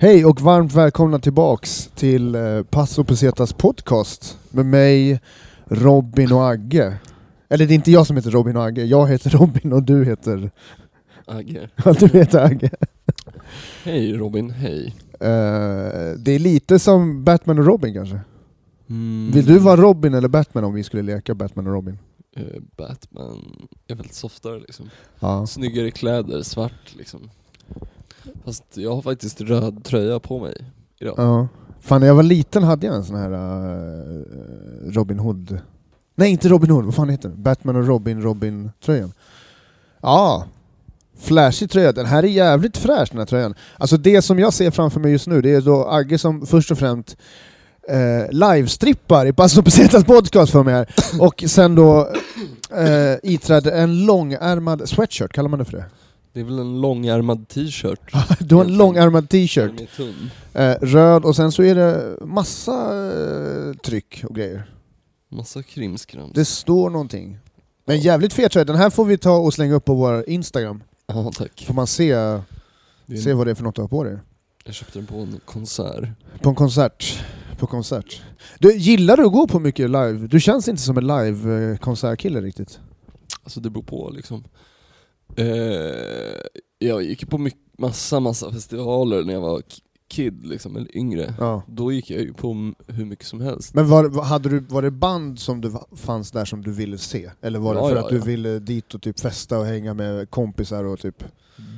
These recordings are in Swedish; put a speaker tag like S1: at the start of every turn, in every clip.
S1: Hej och varmt välkomna tillbaks till eh, Passo Pesetas podcast med mig, Robin och Agge. Eller det är inte jag som heter Robin och Agge, jag heter Robin och du heter...
S2: Agge.
S1: Ja, du heter Agge.
S2: Hej Robin, hej.
S1: Eh, det är lite som Batman och Robin kanske?
S2: Mm.
S1: Vill du vara Robin eller Batman om vi skulle leka Batman och Robin?
S2: Eh, Batman är väl softare liksom.
S1: Ja.
S2: Snyggare kläder, svart liksom. Fast jag har faktiskt röd tröja på mig idag.
S1: ja. Fan, när jag var liten hade jag en sån här eh, Robin Hood... Nej, inte Robin Hood, vad fan heter den? Batman och Robin, Robin-tröjan. Ja, flashig tröja. Den här är jävligt fräsch den här tröjan. Alltså det som jag ser framför mig just nu, det är då Agge som först och främst eh, livestrippar i Passo Pesetas podcast för mig här. Och sen då eh, iträdde en långärmad sweatshirt, kallar man det för det?
S2: Det är väl en långärmad t-shirt.
S1: Du har en långärmad t-shirt.
S2: Den är tunn.
S1: Eh, röd och sen så är det massa eh, tryck och grejer.
S2: Massa krimskrams.
S1: Det står någonting. Men jävligt fet tröja. Den här får vi ta och slänga upp på vår Instagram.
S2: Ja tack.
S1: Får man se,
S2: Det är
S1: se
S2: en...
S1: vad det är för något du har på dig.
S2: Jag köpte den på en konsert.
S1: På en konsert. På konsert. Du, gillar du att gå på mycket live? Du känns inte som en live-konsertkille riktigt.
S2: Alltså det beror på liksom. Eh, jag gick på mycket, massa, massa festivaler när jag var k- kid liksom, eller yngre.
S1: Ja.
S2: Då gick jag ju på m- hur mycket som helst.
S1: Men var, var- hade du, var det band som du va- fanns där som du ville se? Eller var det
S2: Ja,
S1: för
S2: ja,
S1: att du
S2: ja.
S1: ville dit och typ festa och hänga med kompisar och typ...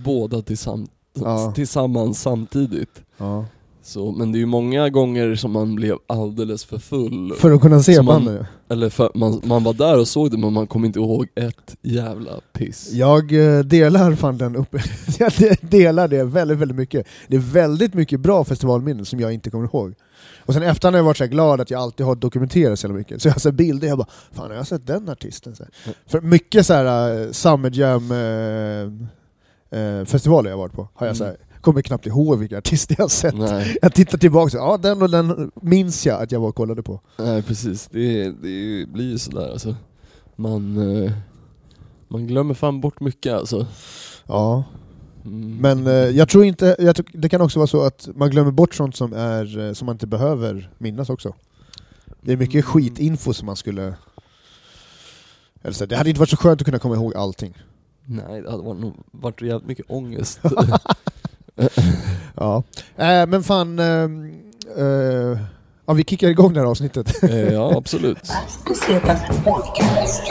S2: båda tillsam-
S1: Ja.
S2: tillsammans samtidigt.
S1: Ja.
S2: Så, men det är ju många gånger som man blev alldeles för full.
S1: För att kunna se
S2: Som man-
S1: bandet?
S2: Eller för man, man var där och såg det men man kom inte ihåg ett jävla piss.
S1: Jag eh, delar fan den upp... jag de- delar det väldigt, väldigt mycket. Det är väldigt mycket bra festivalminnen som jag inte kommer ihåg. Och sen efterhand har jag varit så här glad att jag alltid har dokumenterat så jävla mycket. Så jag har sett bilder, jag bara Fan har jag sett den artisten? Så här.
S2: Mm.
S1: För mycket så här eh, Summer Jam eh, eh, festivaler jag har varit på, har jag så här, kommer knappt ihåg vilka artister jag har sett.
S2: Mm. Nej,
S1: Jag tittar tillbaka och så, ja den och den minns jag att jag var och kollade på.
S2: nej precis. Det, det blir ju sådär alltså. Man, eh, man glömmer fan bort mycket alltså.
S1: Ja.
S2: Mm.
S1: Men eh, jag tror inte, jag tror, det kan också vara så att man glömmer bort sånt som, är, eh, som man inte behöver minnas också. Det är mycket
S2: Mm.
S1: skitinfo som man skulle... Eller så, det hade inte varit så skönt att kunna komma ihåg allting.
S2: Nej, det hade varit, nog- varit jävligt mycket ångest.
S1: Ja. Eh, men fan, eh, eh, ja, vi kickar igång det här avsnittet.
S2: Eh, ja, absolut.
S3: Pesetas podcast.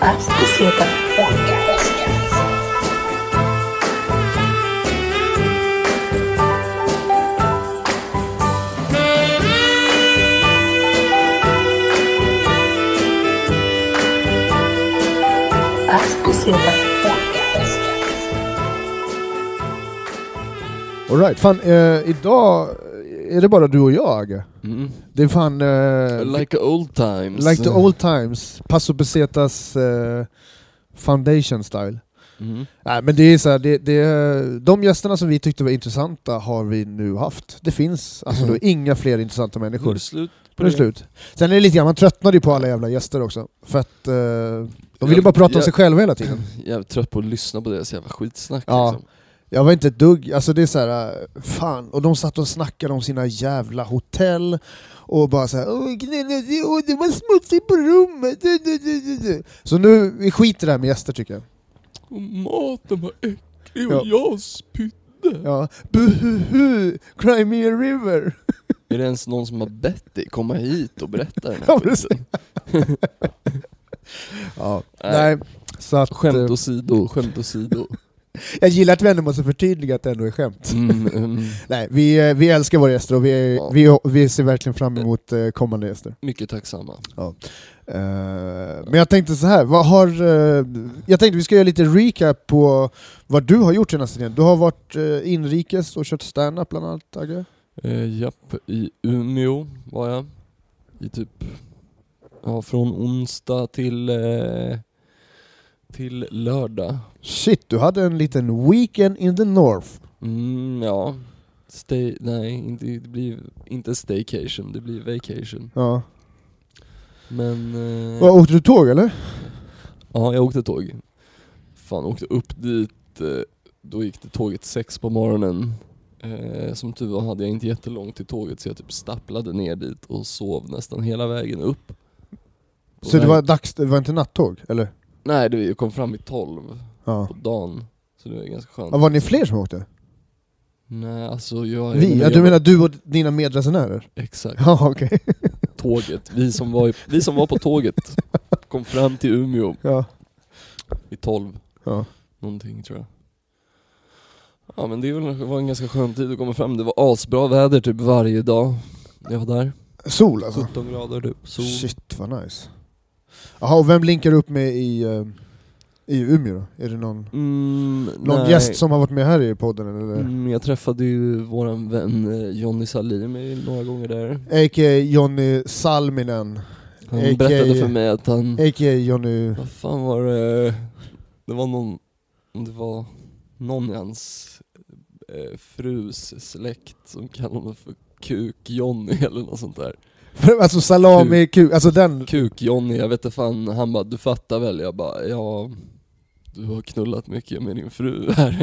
S3: Pesetas podcast. Pesetas podcast.
S1: All right, fan eh, idag är det bara du och jag Agge.
S2: Mm.
S1: Det är fan... Eh,
S2: Like old times.
S1: like the old times, Paso Pesetas eh, foundation style.
S2: Mm.
S1: Nej men det är så här, det, det, de gästerna som vi tyckte var intressanta har vi nu haft. Det finns alltså då inga fler intressanta
S2: Nu är
S1: människor.
S2: det slut på
S1: Nu är det slut. Sen är det lite grann, man tröttnade ju på alla jävla gäster också. För att eh, de ville bara prata om
S2: jag-
S1: sig själva hela tiden.
S2: Jävligt trött på att lyssna på deras jävla skitsnack
S1: Ja.
S2: liksom.
S1: Jag var inte ett dugg, alltså det är så här, eh, fan. Och de satt och snackade om sina jävla hotell och bara såhär åh gnällde, åh, det var smutsigt på rummet. du, du, du, du, du." Så nu, vi skiter i det här med gäster tycker jag.
S2: Och maten var äcklig och
S1: Ja.
S2: jag spydde.
S1: Ja, buhuhu, Crimea River.
S2: Är det ens någon som har bett dig komma hit och berätta den
S1: Ja,
S2: här
S1: precis.
S2: skiten?
S1: Ja.
S2: Nej.
S1: Nej, så att,
S2: Skämt
S1: eh,
S2: åsido, skämt åsido.
S1: jag gillar att vi ändå måste förtydliga att det ändå är skämt.
S2: Mm, mm,
S1: Nej, vi, eh, vi älskar våra gäster och vi,
S2: Ja.
S1: vi, vi ser verkligen fram emot eh, kommande gäster.
S2: mycket tacksamma.
S1: Eh, Men jag tänkte så här, vad har, eh, jag tänkte vi ska göra lite recap på vad du har gjort senaste tiden. Du har varit eh, inrikes och kört stand-up bland annat, Agge.
S2: Eh, japp, i Umeå var jag. I typ, ja från onsdag till, eh, till lördag.
S1: Shit, du hade en liten weekend in the North.
S2: Mm, ja. Stay, nej, inte, det blir inte staycation, det blir vacation.
S1: Ja.
S2: Men... eh,
S1: Vad, Åkte du tåg eller?
S2: Ja, jag åkte tåg. Fan, åkte upp dit, eh, då gick det tåget sex på morgonen. Eh, som tur var hade jag inte jättelångt till tåget så jag typ stapplade ner dit och sov nästan hela vägen upp. På
S1: Så det
S2: väg-
S1: var, dags, det var inte nattåg, eller?
S2: Nej, det jag kom fram vid tolv
S1: Ja.
S2: på dagen. Så det var ganska skönt.
S1: ja. Var ni fler som åkte?
S2: Nej, alltså jag...
S1: Vi? Ja,
S2: jag,
S1: du menar du och dina medresenärer?
S2: Exakt.
S1: Ja, okej.
S2: Tåget. Vi som, var, i- vi som var på tåget kom fram till Umeå
S1: Ja.
S2: vid tolv.
S1: Ja.
S2: Någonting tror jag. Ja men det är väl- det var en ganska skön tid att komma fram. Det var asbra väder typ varje dag jag var där.
S1: Sol alltså?
S2: 17 grader typ. Sol.
S1: Shit vad nice. Jaha, och vem linkar du upp med i, eh, i Umeå då? Är det någon,
S2: Mm,
S1: någon
S2: nej.
S1: gäst som har varit med här i podden eller?
S2: Mm, jag träffade ju våran vän eh, Jonny Salim i- några gånger där.
S1: A.k.a. Jonny Salminen,
S2: Mm. Han
S1: A.k.a.
S2: berättade för mig att han...
S1: a.k.a. Jonny...
S2: Vad fan var det? Det var någon... Det var någon i hans eh, frus släkt som kallade honom för Kuk-Jonny eller något sånt där.
S1: Alltså salami, kuk, alltså den...
S2: Kuk-Johnny, jag vet inte fan, han bara du fattar väl? Jag bara ja, du har knullat mycket med din fru här.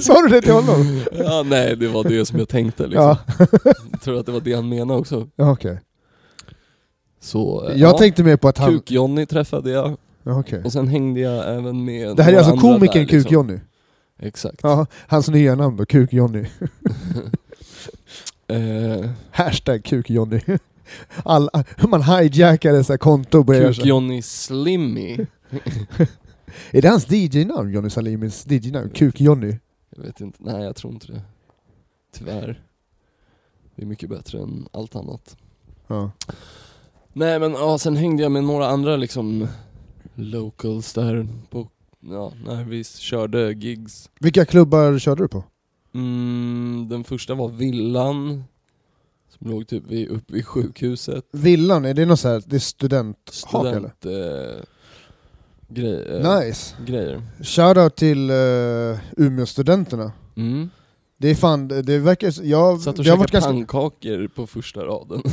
S1: Sa du det till honom?
S2: ja, nej det var det som jag tänkte liksom.
S1: Ja,
S2: Jag tror att det var det han menade också.
S1: ja okej.
S2: Så eh,
S1: Jag
S2: ja,
S1: tänkte mer på att han...
S2: Kuk-Johnny träffade jag
S1: Ja, okej.
S2: och sen hängde jag även med
S1: Det här är
S2: några
S1: alltså
S2: andra
S1: komikern
S2: där, liksom.
S1: Kuk-Jonny?
S2: Exakt.
S1: Ja, hans nya namn då, Kuk-Jonny.
S2: Eh,
S1: Hashtag Kuk-Jonny. All, man hijackar dessa konto och börjar... så-
S2: Kuk-Johnny Slimmy.
S1: Är det hans DJ-namn, Jonny Salimis DJ-namn? Kuk-Jonny?
S2: Jag vet inte, nej jag tror inte det. Tyvärr. Det är mycket bättre än allt annat.
S1: Ja.
S2: Nej men ja, sen hängde jag med några andra liksom locals där på, ja, när vi körde gigs.
S1: Vilka klubbar körde du på?
S2: Mm, den första var Villan, som låg typ vid, uppe vid sjukhuset.
S1: Villan, är det något så här, det är student... Hak, eller?
S2: Student, eh, grej, eh,
S1: Nice!
S2: grejer.
S1: Shoutout till uh, Umeå-studenterna.
S2: Mm.
S1: Det är fan, det det verkar... så- Jag,
S2: Satt och
S1: det har varit
S2: käkade
S1: ganska...
S2: pannkakor på första raden.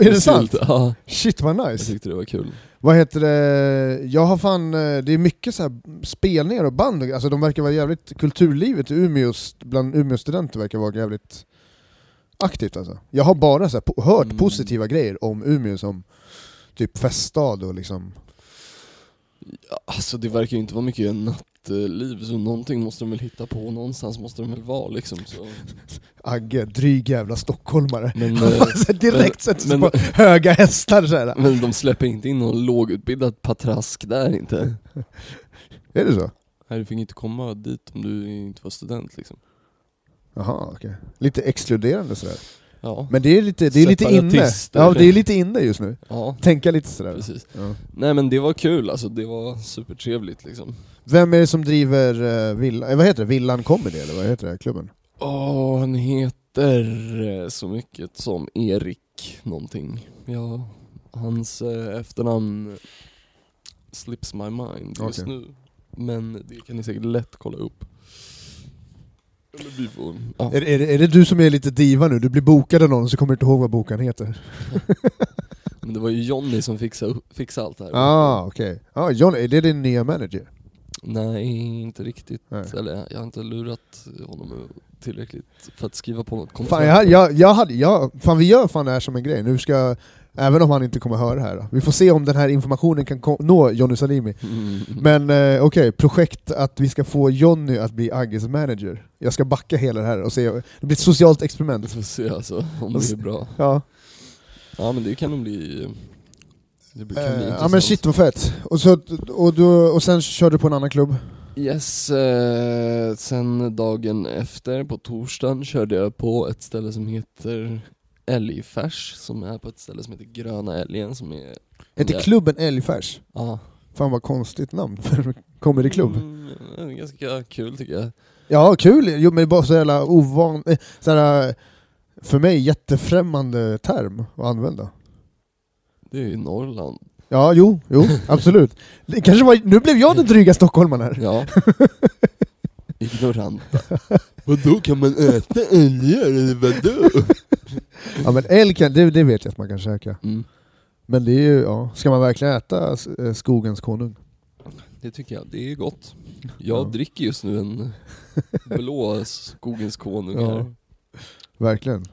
S1: Är det sant?
S2: Ja,
S1: Shit vad
S2: jag
S1: nice!
S2: tyckte det var kul.
S1: Vad heter det? Jag har fan, eh, det är mycket så här spelningar och band, och- alltså de verkar vara jävligt, kulturlivet i Umeå, st- bland Umeå-studenter verkar vara jävligt aktivt alltså. Jag har bara så här, po- hört
S2: Mm.
S1: positiva grejer om Umeå som typ feststad och liksom...
S2: Ja, Alltså det verkar ju inte vara mycket nattliv, så någonting måste de väl hitta på, någonstans måste de väl vara liksom. Så.
S1: Agge, dryg jävla stockholmare.
S2: Men,
S1: Han
S2: eh,
S1: bara så här Direkt sätter sig
S2: men-
S1: på höga hästar så här.
S2: Men de släpper inte in någon lågutbildad patrask där inte.
S1: Är det så?
S2: Nej, du fick inte komma dit om du inte var student liksom.
S1: Jaha, okej. Lite exkluderande sådär.
S2: Ja,
S1: Men det är lite, det är lite inne.
S2: Separatister.
S1: Ja, det är lite inne just nu.
S2: ja
S1: Tänka lite sådär.
S2: precis.
S1: Ja.
S2: Nej men det var kul alltså, det var supertrevligt liksom.
S1: Vem är det som driver uh, Villan, eh, vad heter det? Villan Comedy eller vad heter det, klubben?
S2: Åh, han heter eh, så mycket som Erik någonting. Ja, hans eh, efternamn slips my mind just
S1: Okej.
S2: nu. Men det kan ni säkert lätt kolla upp. Eller vi får... Ja.
S1: Är, är, det- är det du som är lite diva nu? Du blir bokad av någon så kommer du inte ihåg vad bokaren heter.
S2: Men det var ju Johnny som fixade, upp- fixade allt det här.
S1: Ah, okej. Ah, John, är det din nya manager?
S2: Nej, inte riktigt.
S1: Nej.
S2: Eller jag har inte lurat honom tillräckligt för att skriva på något kontrakt.
S1: Fan, jag, hade- jag, jag hade, jag, fan vi gör fan det här som en grej. Nu ska, även om han inte kommer höra det här då. Vi får se om den här informationen kan ko- nå Johnny Salimi.
S2: Mm.
S1: Men eh, okej, projekt att vi ska få Jonny att bli Agges manager. Jag ska backa hela det här och se, det blir ett socialt
S2: Vi
S1: experiment.
S2: får se alltså om
S1: Och
S2: det
S1: se-
S2: är bra.
S1: Ja,
S2: Ja men det kan nog bli... Det kan bli
S1: eh, ja
S2: intressant.
S1: men shit vad fett. Och, så, och, du, och sen kör du på en annan klubb?
S2: Yes, eh, sen dagen efter på torsdagen körde jag på ett ställe som heter Älgfärs som är på ett ställe som heter Gröna Älgen som är...
S1: Heter
S2: Ja.
S1: klubben Älgfärs?
S2: Ja.
S1: Fan vad konstigt namn för en comedyklubb.
S2: Mm, det är ganska kul tycker jag.
S1: Ja, kul! Jo men det är bara så jävla ovan... eh, Så här, eh, för mig jättefrämmande term att använda.
S2: Det är ju Norrland.
S1: Ja, jo, jo, absolut. Det kanske var, nu blev jag den dryga stockholmaren här.
S2: Ja. ignoranta. Vadå, kan man äta älgar eller vadå?
S1: Ja men älg kan, det, det vet jag att man kan käka.
S2: Mm,
S1: Men det är ju, ja. Ska man verkligen äta eh, skogens konung?
S2: det tycker jag, det är gott. Jag
S1: Ja.
S2: dricker just nu en blå skogens konung
S1: Ja.
S2: här.
S1: Verkligen.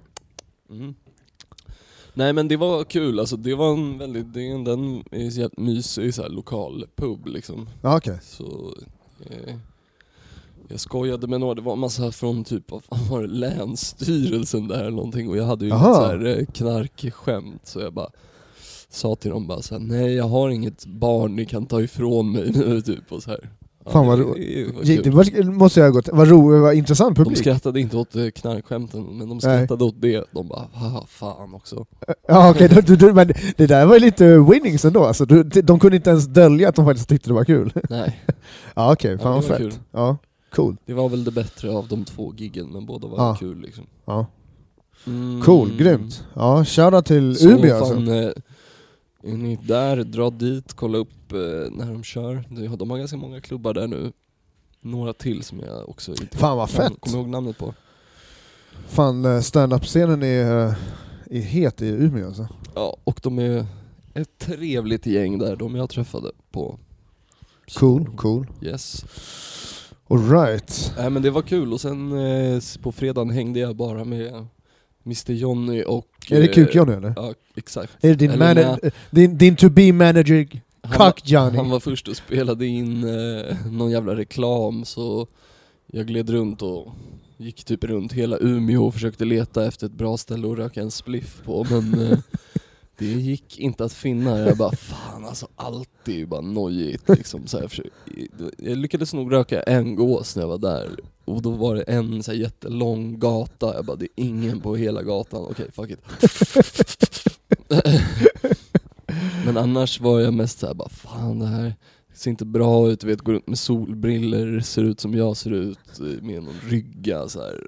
S2: Mm. Nej men det var kul, alltså det var en väldigt, det är en, den är så jävla mysig så här, lokal pub liksom.
S1: Ja okej.
S2: Så eh, jag skojade med några, det var en massa från typ, vad fan var det, Länsstyrelsen där eller någonting och jag hade ju ett
S1: Aha.
S2: så här eh, knarkskämt så jag bara sa till dem bara så här, nej jag har inget barn ni kan ta ifrån mig nu typ och så här. Ja,
S1: Fan, vad
S2: det-
S1: ro-
S2: det var
S1: Det
S2: kul.
S1: var, måste jag ha gått, vad roligt, vad intressant
S2: De
S1: publik.
S2: skrattade inte åt eh, knarkskämten men de skrattade åt det. De bara, haha fan också.
S1: Ja okej, du- du- du- men det där var ju lite winnings ändå alltså. Du, de kunde inte ens dölja att de faktiskt tyckte det var kul.
S2: Nej,
S1: Ja okej, fan
S2: Ja,
S1: vad
S2: det
S1: fett.
S2: var kul.
S1: Ja, cool.
S2: det var väl det bättre av de två giggen men båda var
S1: Ja.
S2: kul liksom.
S1: Ja.
S2: Mm.
S1: Cool, grymt. Ja, shoutout till
S2: Så
S1: Umeå
S2: fan,
S1: alltså.
S2: eh, är ni där, dra dit, kolla upp eh, när de kör. De har, de har ganska många klubbar där nu. Några till som jag också inte
S1: Fan vad
S2: kan-
S1: fett.
S2: kommer ihåg namnet på.
S1: Fan eh, stand-up-scenen är, eh, är het i Umeå alltså.
S2: Ja, och de är ett trevligt gäng där, de jag träffade på. Så,
S1: Cool, cool.
S2: Yes.
S1: Alright.
S2: Nej men det var kul och sen eh, s- på fredagen hängde jag bara med Mr Johnny och...
S1: Är det
S2: eh,
S1: Kuk-Johnny eller?
S2: Ja, exakt.
S1: Är det din,
S2: Eller
S1: mana- din, din to-be manager
S2: Han var-
S1: Cock-Johnny?
S2: Han var först och spelade in eh, någon jävla reklam så jag gled runt och gick typ runt hela Umeå och försökte leta efter ett bra ställe att röka en spliff på men eh, det gick inte att finna. Jag bara fan alltså allt är ju bara nojigt liksom. Så här, jag, försökte- jag lyckades nog röka en gås när jag var där och då var det en så här jättelång gata. Jag bara det är ingen på hela gatan, okej fuck it. Men annars var jag mest såhär bara, fan det här ser inte bra ut, du vet, går runt med solbriller, ser ut som jag ser ut, eh, med någon rygga så här.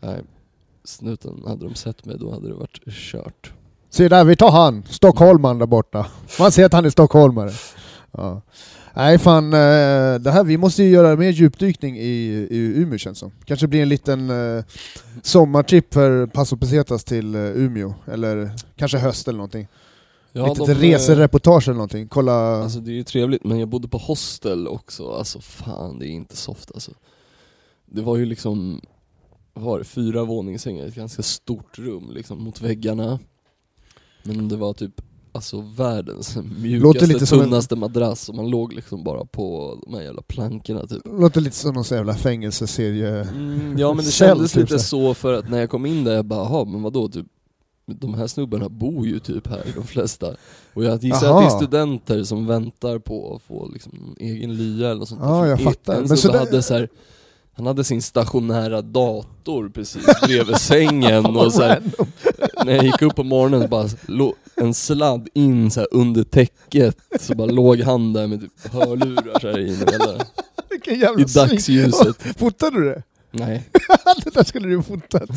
S2: Nej, snuten, hade de sett mig då hade det varit kört.
S1: Se där, vi tar han. Stockholmaren där borta. Man ser att han är stockholmare. Ja. Nej fan, eh, det här, vi måste ju göra mer djupdykning i, i Umeå känns som. Kanske blir en liten eh, sommartripp för Paso Pesetas till eh, Umeå, eller kanske höst eller någonting.
S2: Ja,
S1: Litet
S2: de, eh,
S1: resereportage eller någonting. Kolla...
S2: Alltså det är ju trevligt, men jag bodde på hostel också, alltså fan det är inte soft alltså. Det var ju liksom, vad var det, fyra våningssängar, ett ganska stort rum liksom mot väggarna. Men det var typ, alltså världens mjukaste,
S1: lite som en-
S2: tunnaste madrass och man låg liksom bara på de här jävla plankorna typ.
S1: Låter lite som någon sån jävla fängelseserie.
S2: Mm, ja men det
S1: Käll,
S2: kändes
S1: typ
S2: lite
S1: så.
S2: så för att när jag kom in där, jag bara, "Jaha, men vadå typ de här snubbarna bor ju typ här, de flesta. Och jag gissar
S1: Jaha.
S2: att det är studenter som väntar på att få liksom en egen lya eller något sånt. där.
S1: Ja,
S2: För
S1: jag
S2: en-
S1: fattar.
S2: En
S1: Men
S2: snubbe
S1: så där-
S2: hade så här, han hade sin stationära dator precis bredvid sängen
S1: Oh,
S2: och så här, när jag gick upp på morgonen så bara lå- en sladd in så här under täcket så bara låg han där med typ hörlurar så här i, hela-
S1: Vilken jävla
S2: i
S1: svin.
S2: dagsljuset.
S1: Fotade du det?
S2: Nej.
S1: det där skulle du fotat.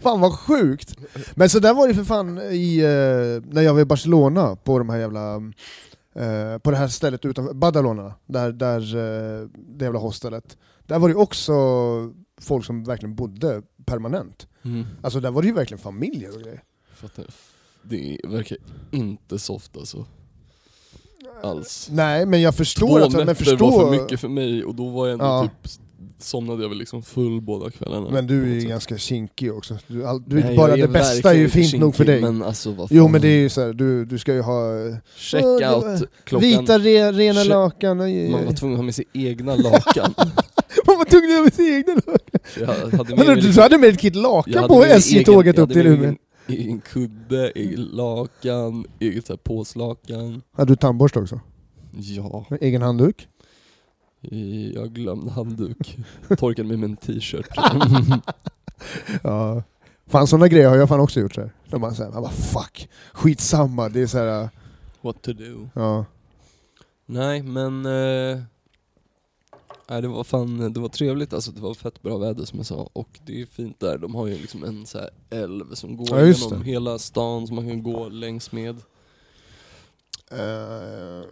S1: fan vad sjukt. Men så där var det för fan i, eh, när jag var i Barcelona på de här jävla eh, på det här stället utanför Badalona, där, där eh, det jävla hostelet. Där var det ju också folk som verkligen bodde permanent.
S2: Mm.
S1: Alltså där var det ju verkligen familjer och grejer.
S2: Fattar. Det verkar inte soft alltså. Alls.
S1: Nej men jag förstår
S2: Två
S1: att... Men
S2: nätter
S1: förstå,
S2: var för mycket för mig och då var jag ändå
S1: Ja.
S2: typ, somnade jag väl liksom full båda kvällarna.
S1: Men du är
S2: på något
S1: ju
S2: sätt.
S1: ganska kinkig också. Du, all, du,
S2: Nej,
S1: bara
S2: jag
S1: det bästa är
S2: verkligen
S1: ju
S2: inte
S1: fint nog för dig.
S2: kinkig, Men alltså vad fan.
S1: Jo men det är ju såhär, du, du ska ju ha eh,
S2: Check
S1: Åh, det var-
S2: out klockan.
S1: vita re, rena
S2: Shit.
S1: lakan. och-
S2: Man var tvungen att ha med sig egna lakan.
S1: Man var tvungen att göra sina egna lakan.
S2: jag hade med
S1: Men
S2: mig
S1: du,
S2: liksom-
S1: du hade med ett kit
S2: jag
S1: lakan
S2: hade
S1: på
S2: med mig egen-
S1: SJ-tåget
S2: jag
S1: upp
S2: hade
S1: till
S2: med
S1: Umeå.
S2: Egen, egen kudde, egen lakan, eget så här påslakan.
S1: Hade du tandborste också?
S2: Ja,
S1: Med Egen handduk?
S2: jag glömde handduk. Torkade mig med en t-shirt.
S1: Ja. Fan sådana grejer har jag fan också gjort såhär. När man såhär, man bara fuck, skitsamma. Det är såhär,
S2: What to do.
S1: ja.
S2: Nej men... Eh, nej, det var fan, det var trevligt alltså. Det var fett bra väder som jag sa. Och det är fint där. De har ju liksom en så här älv som går
S1: Ja, just
S2: genom hela stan som man kan gå längs med.
S1: Eh,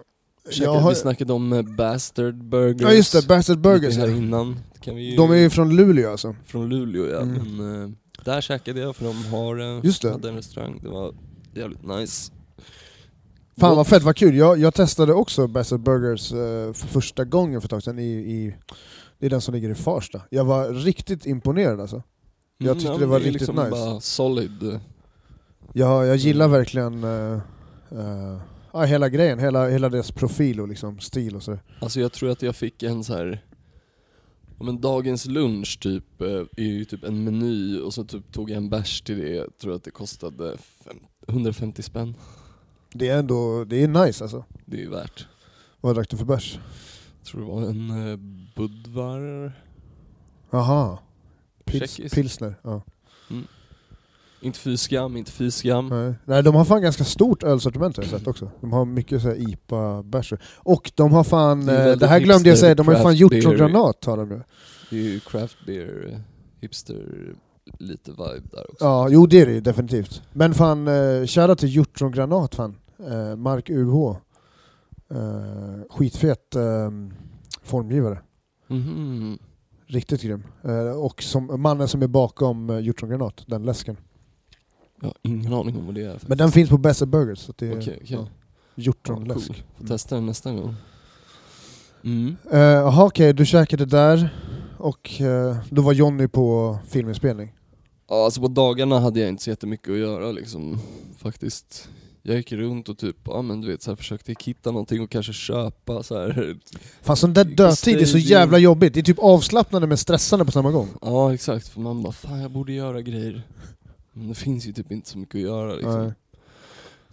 S2: Käkade,
S1: har-
S2: Vi snackade om eh, Bastard Burgers.
S1: Ja just det, Bastard Burgers.
S2: Lite här
S1: ja.
S2: innan. Kan vi ju,
S1: De är ju från Luleå alltså.
S2: från Luleå ja,
S1: Mm.
S2: men eh, där käkade jag för de har, eh,
S1: Just det.
S2: hade en restaurang. Det var jävligt nice.
S1: Fan vad fett, vad kul. Jag, jag testade också Bastard Burgers eh, för första gången för ett tag sedan. I, i, det är den som ligger i Farsta. Jag var riktigt imponerad alltså. jag tyckte det
S2: men
S1: var
S2: är
S1: riktigt
S2: liksom
S1: nice.
S2: Bara solid.
S1: Jag,
S2: Mm.
S1: jag gillar verkligen eh, eh, ja, hela grejen, hela, hela deras profil och liksom stil och sådär.
S2: Alltså jag tror att jag fick en så här ja, men dagens lunch typ, eh, är ju typ en meny och så typ tog jag en bärs till det, jag tror att det kostade fem, 150 spänn.
S1: Det är ändå, det är nice alltså.
S2: Det är ju värt.
S1: Vad drack du för bärs?
S2: Jag tror det var en eh, Budvar,
S1: Aha. Pils,
S2: Tjeckisk.
S1: pilsner.
S2: Mm.
S1: Ja.
S2: inte fy skam, inte fy skam.
S1: Nej. Nej, de har fan ganska stort ölsortiment har jag sett också. De har mycket så här IPA-bärs. Och de har fan,
S2: Det är
S1: eh,
S2: väldigt
S1: det här glömde jag
S2: hipster,
S1: säga, de har ju fan
S2: craft
S1: gjort
S2: beer.
S1: granat har de nu.
S2: Det är ju craft beer, eh, hipster, lite vibe där också.
S1: Ja, jo det är det ju definitivt. Men fan, eh, shoutout till Hjortrongranat fan. Eh, Mark UH. Eh, skitfet eh, formgivare.
S2: Mhm.
S1: Riktigt grym. Eh, och som, mannen som är bakom eh, Hjortrongranat, den läsken.
S2: Jag har ingen aning om vad det är faktiskt.
S1: Men den finns på Best of Burgers. Så att det är
S2: Okej, okej.
S1: ja,
S2: Ja, cool.
S1: hjortronläsk.
S2: Får testa den nästa gång. Mm.
S1: Eh, Jaha okej, du käkade där och eh, då var Jonny på filminspelning.
S2: Ja, alltså på dagarna hade jag inte så jättemycket att göra liksom faktiskt. Jag gick runt och typ, ja men du vet så här, försökte hitta någonting och kanske köpa så här.
S1: Fan sån där
S2: Gick på
S1: dödtid är så
S2: stadion.
S1: jävla jobbigt. Det är typ avslappnande men stressande på samma gång.
S2: Ja exakt, för man bara fan jag borde göra grejer. Men det finns ju typ inte så mycket att göra liksom.
S1: Nej.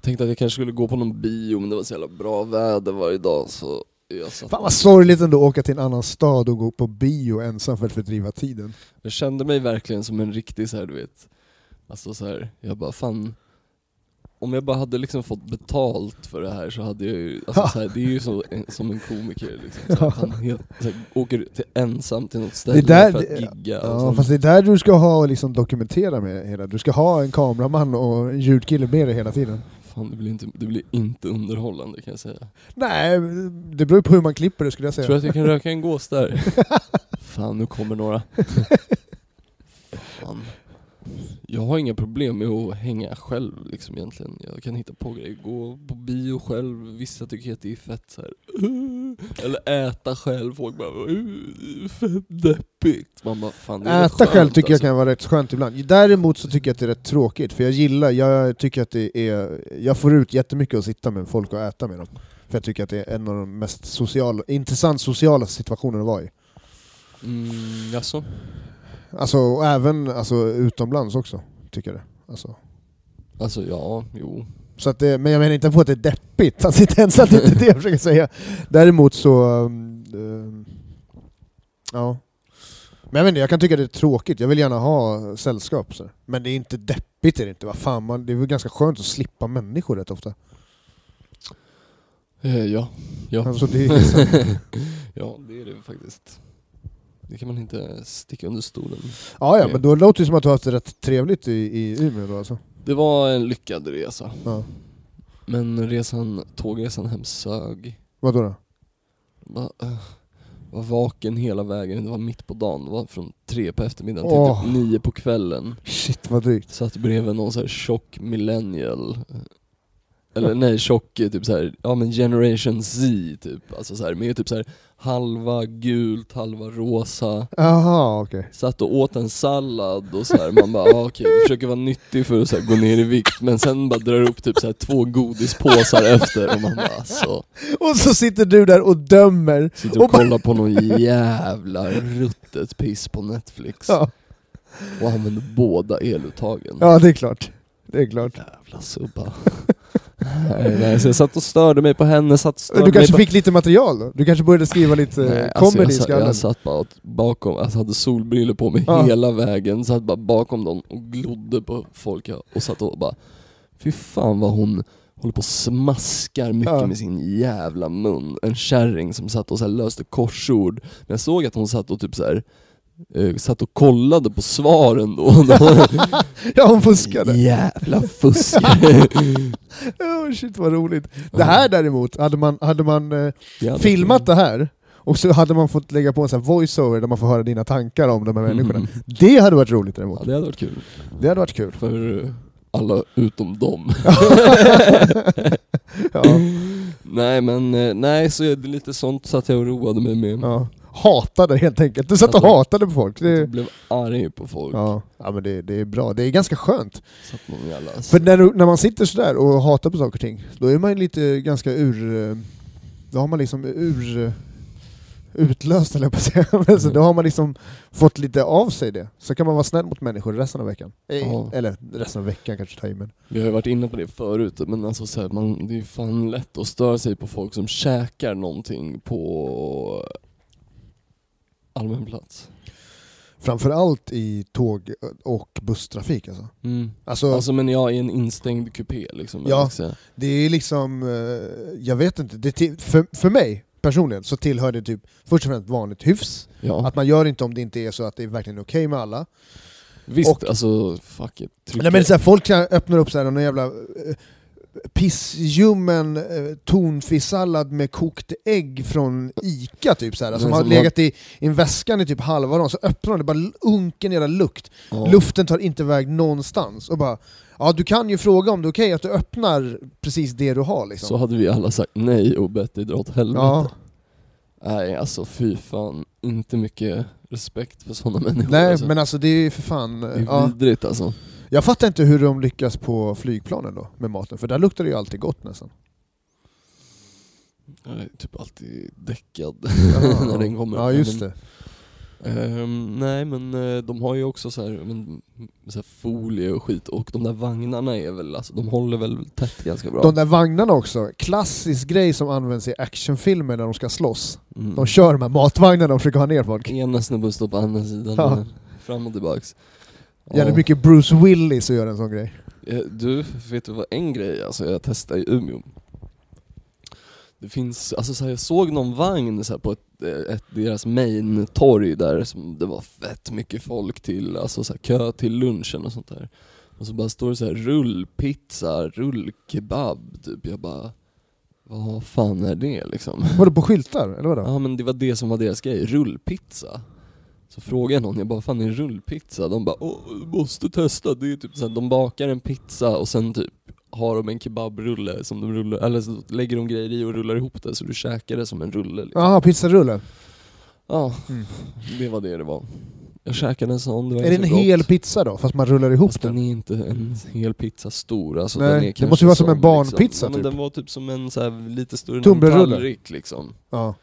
S2: Tänkte att jag kanske skulle gå på någon bio men det var så jävla bra väder varje dag så jag satt
S1: Fan vad sorgligt ändå att åka till en annan stad och gå på bio ensam för att fördriva tiden.
S2: Jag kände mig verkligen som en riktig så här, du vet Alltså så här, jag bara fan Om jag bara hade liksom fått betalt för det här så hade jag ju, alltså så här, det är ju så, en, som en komiker liksom så här, fan, helt, så här, Åker till, ensam till något ställe
S1: där-
S2: för
S1: det-
S2: att gigga och
S1: Ja,
S2: sånt.
S1: fast det är där du ska ha och liksom dokumentera med hela. Du ska ha en kameraman och en ljudkille med dig hela tiden.
S2: Fan det blir, inte, det blir inte underhållande kan jag säga
S1: Nej, det beror ju på hur man klipper det skulle jag säga.
S2: Tror du att jag kan röka en gås där? fan nu kommer några Fan jag har inga problem med att hänga själv liksom egentligen. Jag kan hitta på grejer. Gå på bio själv. Vissa tycker att det är fett så här. "Uh." Eller äta själv. Folk bara "Uh, fett deppigt. Man bara fan det är väl
S1: Äta
S2: skönt,
S1: själv tycker jag
S2: alltså.
S1: kan vara rätt skönt ibland. Däremot så tycker jag att det är rätt tråkigt, för jag gillar, jag tycker att det är, jag får ut jättemycket att sitta med folk och äta med dem. För jag tycker att det är en av de mest sociala, intressant sociala situationerna att vara i.
S2: Mm, jaså?
S1: Alltså, och även alltså, utomlands också, tycker jag det. Alltså.
S2: Alltså ja, jo.
S1: Så att det, men jag menar inte på att det är deppigt att sitta ensam, det är inte det jag försöker säga. Däremot så... um, um, ja. Men jag vet inte, jag kan tycka det är tråkigt. Jag vill gärna ha sällskap. Så. Men det är inte deppigt är det inte. Vad fan, man, det är väl ganska skönt att slippa människor rätt ofta.
S2: Eh, ja. Ja.
S1: Alltså, det är liksom,
S2: ja, det är det faktiskt. Det kan man inte sticka under stolen.
S1: ja, ja, men då låter det som att du har haft det rätt trevligt i, i Umeå då alltså.
S2: Det var en lyckad resa.
S1: Ja.
S2: Men resan, tågresan hem sög.
S1: Vadå då?
S2: Va, eh, var vaken hela vägen, det var mitt på dagen, det var från tre på eftermiddagen till
S1: Åh.
S2: typ nio på kvällen.
S1: Shit vad drygt.
S2: Satt bredvid någon så här tjock millennial. Eh, Eller nej, tjock eh, typ så här, ja men generation Z typ. Alltså så här, med typ så här halva gult, halva rosa.
S1: Jaha, okej.
S2: Satt och åt en sallad och så här, man bara ah, okej, försöker vara nyttig för att så här, gå ner i vikt men sen bara drar upp typ så här, två godispåsar efter och man bara alltså
S1: Och så sitter du där och dömer.
S2: Sitter och
S1: Och bara-
S2: kollar på någon jävla ruttet piss på Netflix
S1: Ja,
S2: och använder båda eluttagen.
S1: ja det är klart. Det är klart.
S2: Jävla subba. nej, nej, så jag satt och störde mig på henne, satt och störde
S1: Du
S2: mig
S1: kanske
S2: på
S1: fick lite material då? Du kanske började skriva lite
S2: Nej,
S1: eh,
S2: alltså
S1: comedy
S2: jag,
S1: i
S2: satt,
S1: skallen?
S2: jag satt bara åt- bakom, alltså hade solbrillor på mig
S1: Ja.
S2: hela vägen, satt bara bakom dem och glodde på folk jag- och satt och bara Fy fan vad hon håller på och smaskar mycket
S1: Ja.
S2: med sin jävla mun. En kärring som satt och så här löste korsord. Men jag såg att hon satt och typ så här eh, satt och kollade på svaren då. då
S1: Ja, hon fuskade.
S2: Jävla fuskare.
S1: Oh, shit vad roligt. Det här däremot, hade man, hade man eh,
S2: Ja, det-
S1: filmat det här och så hade man fått lägga på en sån här voiceover där man får höra dina tankar om de här människorna.
S2: Mm.
S1: Det hade varit roligt
S2: Ja,
S1: däremot.
S2: det hade varit kul.
S1: Det hade varit kul.
S2: För eh, alla utom dem.
S1: Ja,
S2: nej men, eh, nej så är det lite sånt satt jag och roade mig med.
S1: ja. Hatade helt enkelt. Du satt och
S2: Mm. Alltså-
S1: hatade på folk.
S2: Jag
S1: Det,
S2: blev arg på folk.
S1: ja. ja men det, det är bra. Det är ganska skönt.
S2: Satt någon jävla...
S1: För när, du, när man sitter sådär och hatar på saker och ting, då är man ju lite ganska ur... eh, Då har man liksom ur... eh, Utlöst eller på att säga. Men så Då har man liksom fått lite av sig det. Så kan man vara snäll mot människor resten av veckan. Eh,
S2: Ja.
S1: Eller resten av veckan kanske tar i, men...
S2: Vi har ju varit inne på det förut, men alltså så här, man, det är ju fan lätt att störa sig på folk som käkar någonting på allmän plats.
S1: Framförallt i tåg och busstrafik alltså. Alltså,
S2: Alltså men jag i en instängd kupé liksom. eller
S1: Ja.
S2: vad ska jag säga.
S1: det är liksom... eh, Jag vet inte. Det till, för, för mig personligen så tillhör det typ först och främst vanligt hyfs.
S2: ja.
S1: Att man gör inte om det inte är så att det är verkligen okej med alla.
S2: Visst,
S1: och-
S2: alltså fuck it.
S1: Nej, men så här, folk så här öppnar upp så här, någon jävla eh, pissljummen eh, tonfisksallad med kokt ägg från Ica typ så här, som
S2: Men
S1: har
S2: som
S1: legat i, i en väskan i typ halva dagen, så öppnar de det, bara unken jävla lukt.
S2: ja.
S1: Luften tar inte väg någonstans. Och bara, ja du kan ju fråga om det är okej att du öppnar precis det du har liksom.
S2: Så hade vi alla sagt nej och bett dig dra åt helvete.
S1: ja.
S2: Nej alltså fy fan, inte mycket respekt för sådana människor.
S1: Nej
S2: alltså.
S1: men alltså det är ju för fan...
S2: Det är
S1: Ja.
S2: vidrigt alltså.
S1: Jag fattar inte hur de lyckas på flygplanen då, med maten, för där luktar det ju alltid gott nästan.
S2: Jag är typ alltid däckad
S1: Ja.
S2: när den kommer.
S1: Ja
S2: Nej,
S1: just
S2: men-
S1: det.
S2: Ehm, nej men eh, de har ju också så här, men, så här folie och skit och de där vagnarna är väl, alltså, de håller väl tätt ganska bra.
S1: De där vagnarna också, klassisk grej som används i actionfilmer när de ska slåss.
S2: mm.
S1: De kör de här matvagnarna och försöker ha ner folk.
S2: Ena snubben står på andra sidan,
S1: Ja.
S2: eh, fram och tillbaks. Ja.
S1: Jävligt mycket Bruce Willis att göra en sån grej.
S2: Eh, Du, vet du vad en grej alltså, jag testade i Umeå? Det finns, alltså så här, jag såg någon vagn så här, på ett, eh, ett, deras main-torg där som det var fett mycket folk till, alltså så här, kö till lunchen och sånt där. Och så bara står det så här rullpizza, rullkebab typ. Jag bara, vad fan är det liksom?
S1: Var det på skyltar? Eller vadå?
S2: Ja men det var det som var deras grej, rullpizza. Så frågade jag någon, jag bara fan är det rullpizza? De bara Åh, du måste testa, det är typ såhär, de bakar en pizza och sen typ har de en kebabrulle som de rullar, eller så lägger de grejer i och rullar ihop det så du käkar det som en rulle liksom.
S1: Jaha, pizzarulle.
S2: Ja,
S1: Mm.
S2: det var det det var. Jag käkade en sån, det var
S1: Är det en
S2: inte så gott.
S1: hel pizza då? Fast man rullar ihop
S2: Fast
S1: den?
S2: den är inte en hel pizza stor alltså,
S1: Nej,
S2: den är
S1: det
S2: kanske
S1: måste ju vara som en barnpizza,
S2: liksom. Ja, men
S1: typ.
S2: den var typ som en så här, lite större än en
S1: Tunnbrödsrulle.
S2: tallrik liksom.
S1: Ja.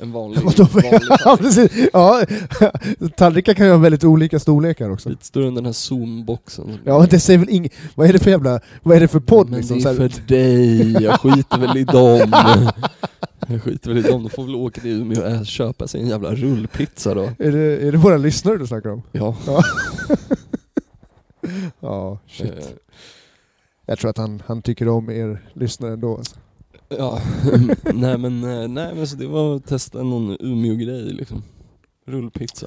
S2: En vanlig,
S1: Vadå?
S2: vanlig
S1: ja, precis. Ja. Tallrikar kan ju ha väldigt olika storlekar också.
S2: Lite större än den här zoomboxen. som
S1: Alltså. Ja, det säger väl inget... Vad är det för jävla... Vad är det för podd
S2: Mm. Men
S1: liksom?
S2: det
S1: Så
S2: är
S1: här,
S2: för dig, jag skiter väl i dem. Jag skiter väl i dem, då får väl åka till Umeå och ä- köpa sig en jävla rullpizza då. Eh,
S1: är, det, är det våra lyssnare du snackar om?
S2: Ja.
S1: Ja, shit.
S2: eh,
S1: Jag tror att han, han tycker om er lyssnare ändå. Alltså.
S2: Ja, nej men, eh, nej men så det var att testa någon Umeå-grej liksom. Rullpizza.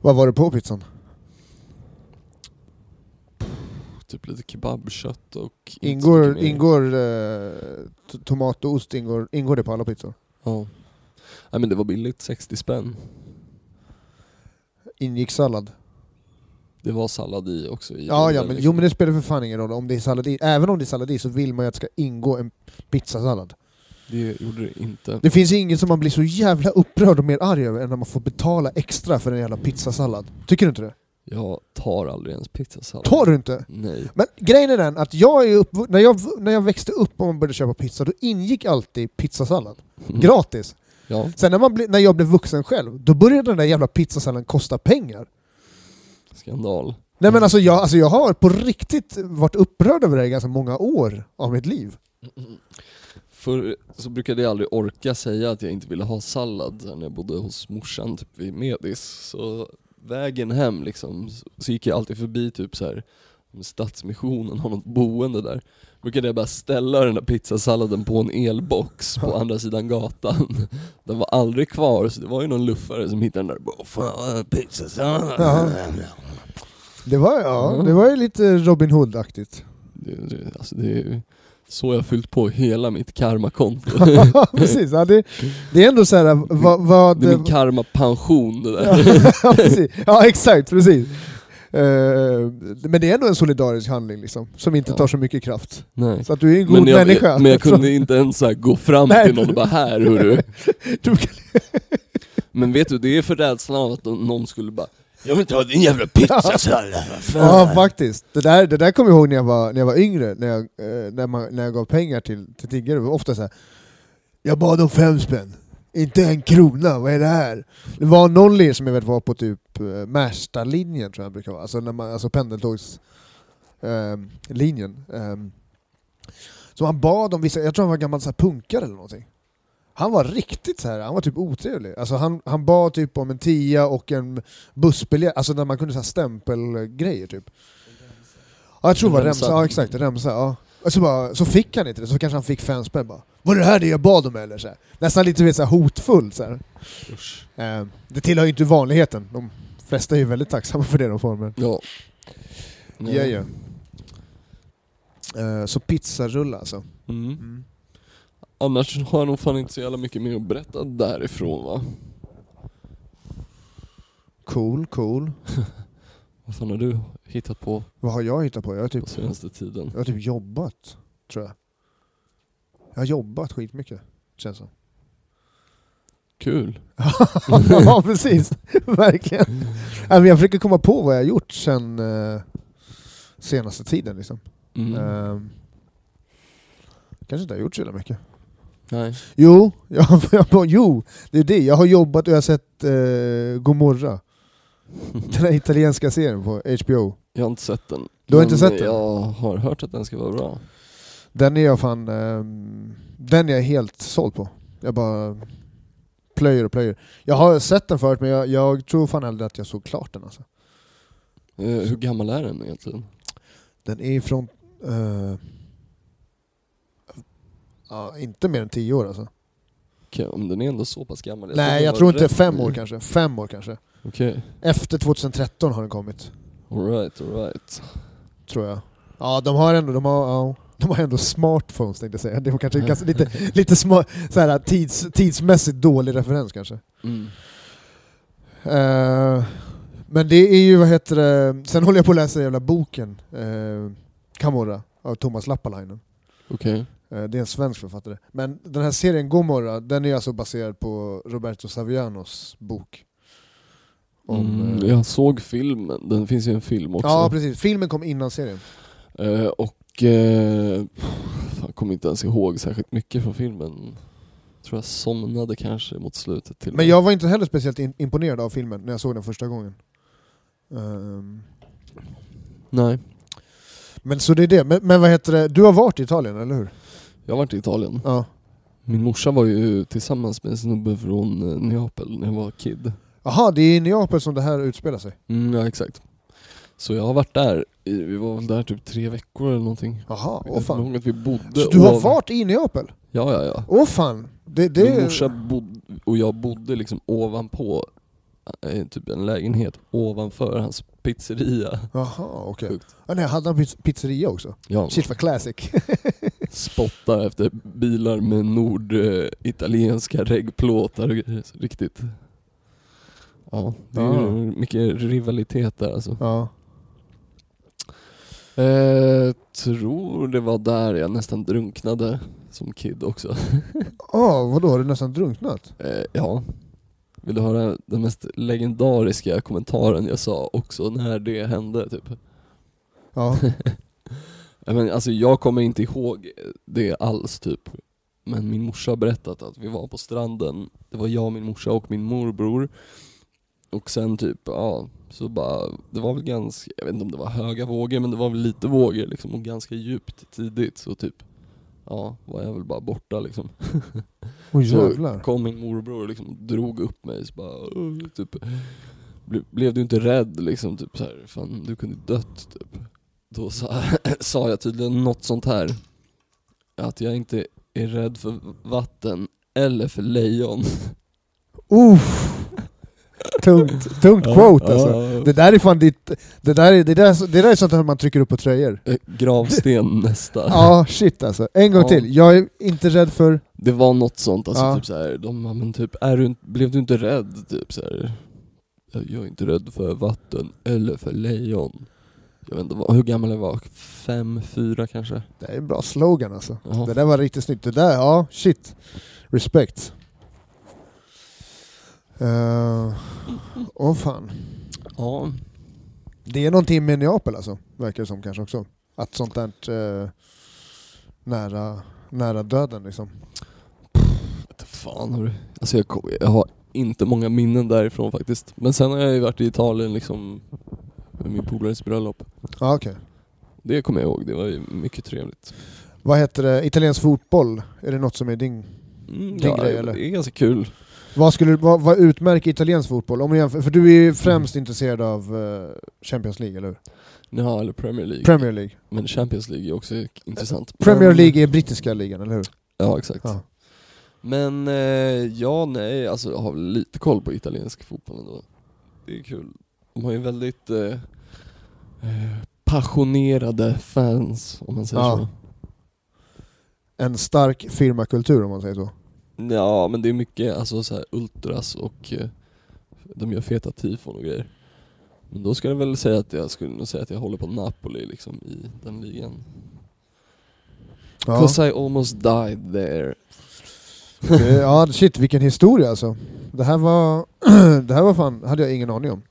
S1: Vad var det på pizzan?
S2: Typ lite kebabkött och... inte så
S1: Ingår,
S2: mycket mer.
S1: ingår eh, t- tomat och ost ingår, ingår det på alla pizzor?
S2: Ja. Nej men det var billigt, 60 spänn.
S1: Ingick sallad?
S2: Det var sallad i också. I
S1: Ja, ja
S2: rullen,
S1: men, jo
S2: liksom.
S1: men det spelar för fan ingen roll om det är sallad i. Även om det är sallad i så vill man ju att det ska ingå en pizzasallad.
S2: det gjorde det inte.
S1: Det finns ju inget som man blir så jävla upprörd och mer arg över än när man får betala extra för en jävla pizzasallad. Tycker du inte det?
S2: Jag tar aldrig ens pizzasallad.
S1: Tar du inte?
S2: Nej.
S1: Men grejen är den att jag är uppv- när, jag, v- när jag växte upp och man började köpa pizza, då ingick alltid pizzasallad.
S2: Mm.
S1: Gratis.
S2: Ja.
S1: Sen när, man ble, när jag blev vuxen själv, då började den där jävla pizzasalladen kosta pengar.
S2: Skandal.
S1: Nej men alltså jag, alltså jag har på riktigt varit upprörd över det här i ganska många år av mitt liv.
S2: Förr så brukade jag aldrig orka säga att jag inte ville ha sallad sen när jag bodde hos morsan typ vid Medis. Så vägen hem liksom, så- så gick jag alltid förbi typ så här om Stadsmissionen har något boende där. Brukade jag bara ställa den där pizzasalladen på en elbox på andra sidan gatan. Den var aldrig kvar, så det var ju någon luffare som hittade den där och bara, Fan, pizzasallad.
S1: Jaha. Det var, ja, det var ju lite Robin Hood-aktigt.
S2: Det, det, alltså det är ju så jag har fyllt på hela mitt karmakonto.
S1: precis, ja, det, det är ändå så här, vad... vad
S2: Det är min karmapension det där.
S1: ja, precis. ja, exakt, precis. Eh, men det är ändå en solidarisk handling liksom, som inte
S2: Ja.
S1: tar så mycket kraft.
S2: Nej.
S1: Så att du är en god
S2: Men jag,
S1: människa. alltså.
S2: jag, men jag kunde inte ens så här gå fram
S1: Nej.
S2: till någon och bara här hörru.
S1: Du kan-
S2: Men vet du, det är för rädslan av att någon skulle bara Jag vill inte ha din jävla pizzasallad, vad fan."
S1: Ja, faktiskt. Det där, det där kommer jag ihåg när jag var, när jag var yngre, när jag, eh, när man, när jag gav pengar till, till tiggare. Det var ofta så här. jag bad om fem spänn. Inte en krona, vad är det här? Det var någon lir som jag vet var på typ eh, Märstalinjen tror jag den brukar vara, alltså, när man, alltså pendeltågslinjen. Eh, linjen, ehm. så han bad om vissa, jag tror han var gammal så här punkare eller någonting. Han var riktigt så här, han var typ otrevlig. Alltså han, han bad typ om en tia och en bussbiljett, alltså där man kunde så här stämpelgrejer typ. Ja, jag tror det var remsa,
S2: Remsa.
S1: ja exakt, remsa. Ja. Och så, bara, så fick han inte det, så kanske han fick fem spänn bara. Var det här det jag bad om eller? Så här. Nästan lite du vet, så här hotfull. Så här. Eh, det tillhör ju inte vanligheten. De flesta är ju väldigt tacksamma för det de får. Men...
S2: Ja.
S1: Ja, ja. Eh, så pizzarullar alltså.
S2: Mm. Annars har jag nog fan inte så jävla mycket mer att berätta därifrån va.
S1: Cool, cool.
S2: Vad fan har du hittat på
S1: Vad har jag hittat på? Jag har typ,
S2: på senaste tiden?
S1: jag har typ jobbat, tror jag. Jag har jobbat skitmycket, känns som.
S2: Kul.
S1: ja, precis. Verkligen. Nej, men jag försöker komma på vad jag har gjort sen eh, senaste tiden. Liksom.
S2: Mm.
S1: Ehm, kanske inte har gjort så jävla mycket.
S2: Nej.
S1: Jo, jag, jag, bara, jo, det är det. Jag har jobbat och jag har sett eh, Gomorra. Den här italienska serien på HBO.
S2: Jag har inte sett den.
S1: Du har inte
S2: Men
S1: sett den?
S2: Jag har hört att den ska vara bra.
S1: Den är jag fan... ehm, den är jag helt såld på. Jag bara plöjer och plöjer. Jag har sett den förut men jag, jag tror fan aldrig att jag såg klart den alltså.
S2: Eh, hur gammal är den egentligen?
S1: Den är från... eh, ja, inte mer än tio år alltså.
S2: Okej, om den är ändå så pass gammal.
S1: Nej,
S2: den
S1: jag
S2: var
S1: tror inte
S2: rätt
S1: fem år
S2: ny.
S1: kanske. Fem år kanske.
S2: Okej,
S1: Efter 2013 har den kommit.
S2: alright, alright.
S1: tror jag. Ja, de har ändå, de har, ja, de har ändå smartphones tänkte jag säga. Det var kanske ganska, lite, lite små, så här, tids, tidsmässigt dålig referens kanske.
S2: Mm.
S1: Eh, men det är ju, vad heter det, sen håller jag på att läsa den jävla boken, uh, Camorra, av Thomas Lappalainen.
S2: Okej.
S1: Eh, det är en svensk författare. Men den här serien Gomorra, den är alltså baserad på Roberto Savianos bok. Om,
S2: Mm,
S1: eh,
S2: jag såg filmen, den finns ju en film också.
S1: ja, precis. Filmen kom innan serien.
S2: Eh, och eh, jag kommer inte ens ihåg särskilt mycket från filmen. tror jag somnade kanske mot slutet till och
S1: Men
S2: med.
S1: jag var inte heller speciellt in- imponerad av filmen när jag såg den första gången. Ehm,
S2: Nej,
S1: men så det är det. Men, men vad heter det, du har varit i Italien, eller hur?
S2: jag har varit i Italien.
S1: Ja.
S2: Min morsa var ju tillsammans med en snubbe från eh, Neapel när jag var kid.
S1: Jaha, det är i Neapel som det här utspelar sig.
S2: Mm, ja, exakt. Så jag har varit där, i, vi var väl där typ tre veckor eller någonting.
S1: Jaha, åh
S2: Jag kommer
S1: fan.
S2: ihåg att vi bodde
S1: Så du har
S2: ov-
S1: varit i Neapel?
S2: Ja, ja, ja.
S1: Åh fan! Det, det...
S2: Min morsa bod- och jag bodde liksom ovanpå eh, typ en lägenhet ovanför hans pizzeria.
S1: Jaha, okej.
S2: Sjukt.
S1: Ja, nej, hade han piz- pizzeria också?
S2: Ja,
S1: Shit vad classic.
S2: spottar efter bilar med norditalienska reggplåtar och grejer. Så Riktigt. Ja, det är
S1: Ja.
S2: ju mycket rivalitet där alltså.
S1: ja.
S2: Eh, tror det var där jag nästan drunknade som kid också.
S1: Åh, vadå, har du nästan drunknat?
S2: Eh, ja. Vill du höra den mest legendariska kommentaren jag sa också när det hände typ?
S1: Ja.
S2: Ja, Men alltså jag kommer inte ihåg det alls typ. Men min morsa har berättat att vi var på stranden, det var jag, min morsa och min morbror. Och sen typ, ja, så bara, det var väl ganska, jag vet inte om det var höga vågor men det var väl lite vågor liksom och ganska djupt tidigt så typ, ja, var jag väl bara borta liksom.
S1: Oj
S2: Så-
S1: jävlar.
S2: Kom min morbror och liksom drog upp mig så bara, "Åh", typ, ble, blev du inte rädd liksom typ så här, fan du kunde dött typ. Då sa, sa jag tydligen något sånt här. Att jag inte är rädd för vatten eller för lejon.
S1: Uff. Tungt, tungt quote alltså.
S2: Ja, ja.
S1: Det där är fan ditt... Det där är, det där, det där är sånt här man trycker upp på tröjor.
S2: Eh, Gravsten nästa.
S1: Ja, shit alltså. En gång
S2: Ja.
S1: till. Jag är inte rädd för...
S2: Det var något sånt, alltså
S1: Ja.
S2: typ såhär, de ja, men typ, är du, inte- blev du inte rädd? Typ såhär, jag är inte rädd för vatten eller för lejon. Jag vet inte vad, hur gammal jag var, fem, fyra kanske?
S1: Det är en bra slogan alltså.
S2: Ja.
S1: Det där var riktigt snyggt. Det där, ja, shit. Respekt. Eh, Åh fan.
S2: Ja.
S1: Det är någonting med Neapel alltså, verkar det som kanske också. Att sånt där eh, nära, nära döden liksom.
S2: Vete fan har du? Alltså jag, kom- jag har inte många minnen därifrån faktiskt. Men sen har jag ju varit i Italien liksom, med min polares bröllop.
S1: Ja, okej.
S2: Det kommer jag ihåg, det var ju mycket trevligt.
S1: Vad heter det? Italiensk fotboll? Är det något som är din... Din
S2: Mm,
S1: grej,
S2: det-
S1: eller?
S2: Det är ganska kul.
S1: Vad, skulle, vad, vad utmärker italiensk fotboll? Om du jämför, för du är ju främst intresserad av eh, Champions League, eller hur?
S2: Ja, eller Premier League.
S1: Premier League.
S2: men Champions League är också intressant.
S1: Eh, Premier
S2: Men-
S1: League är brittiska ligan, eller hur?
S2: Ja, exakt.
S1: Ja.
S2: Men eh, ja, nej, alltså jag har väl lite koll på italiensk fotboll ändå. Det är kul. De har ju väldigt eh, eh, passionerade fans, om man säger
S1: Ja.
S2: Typ så.
S1: En stark firmakultur om man säger så.
S2: Ja, men det är mycket alltså så här ultras och eh, de gör feta tifon och grejer. Men då ska jag väl säga att jag skulle nog säga att jag håller på Napoli liksom i den ligan.
S1: Ja,
S2: 'Cause I almost died there.
S1: det, ja shit vilken historia alltså. Det här var, det här var fan, hade jag ingen aning om.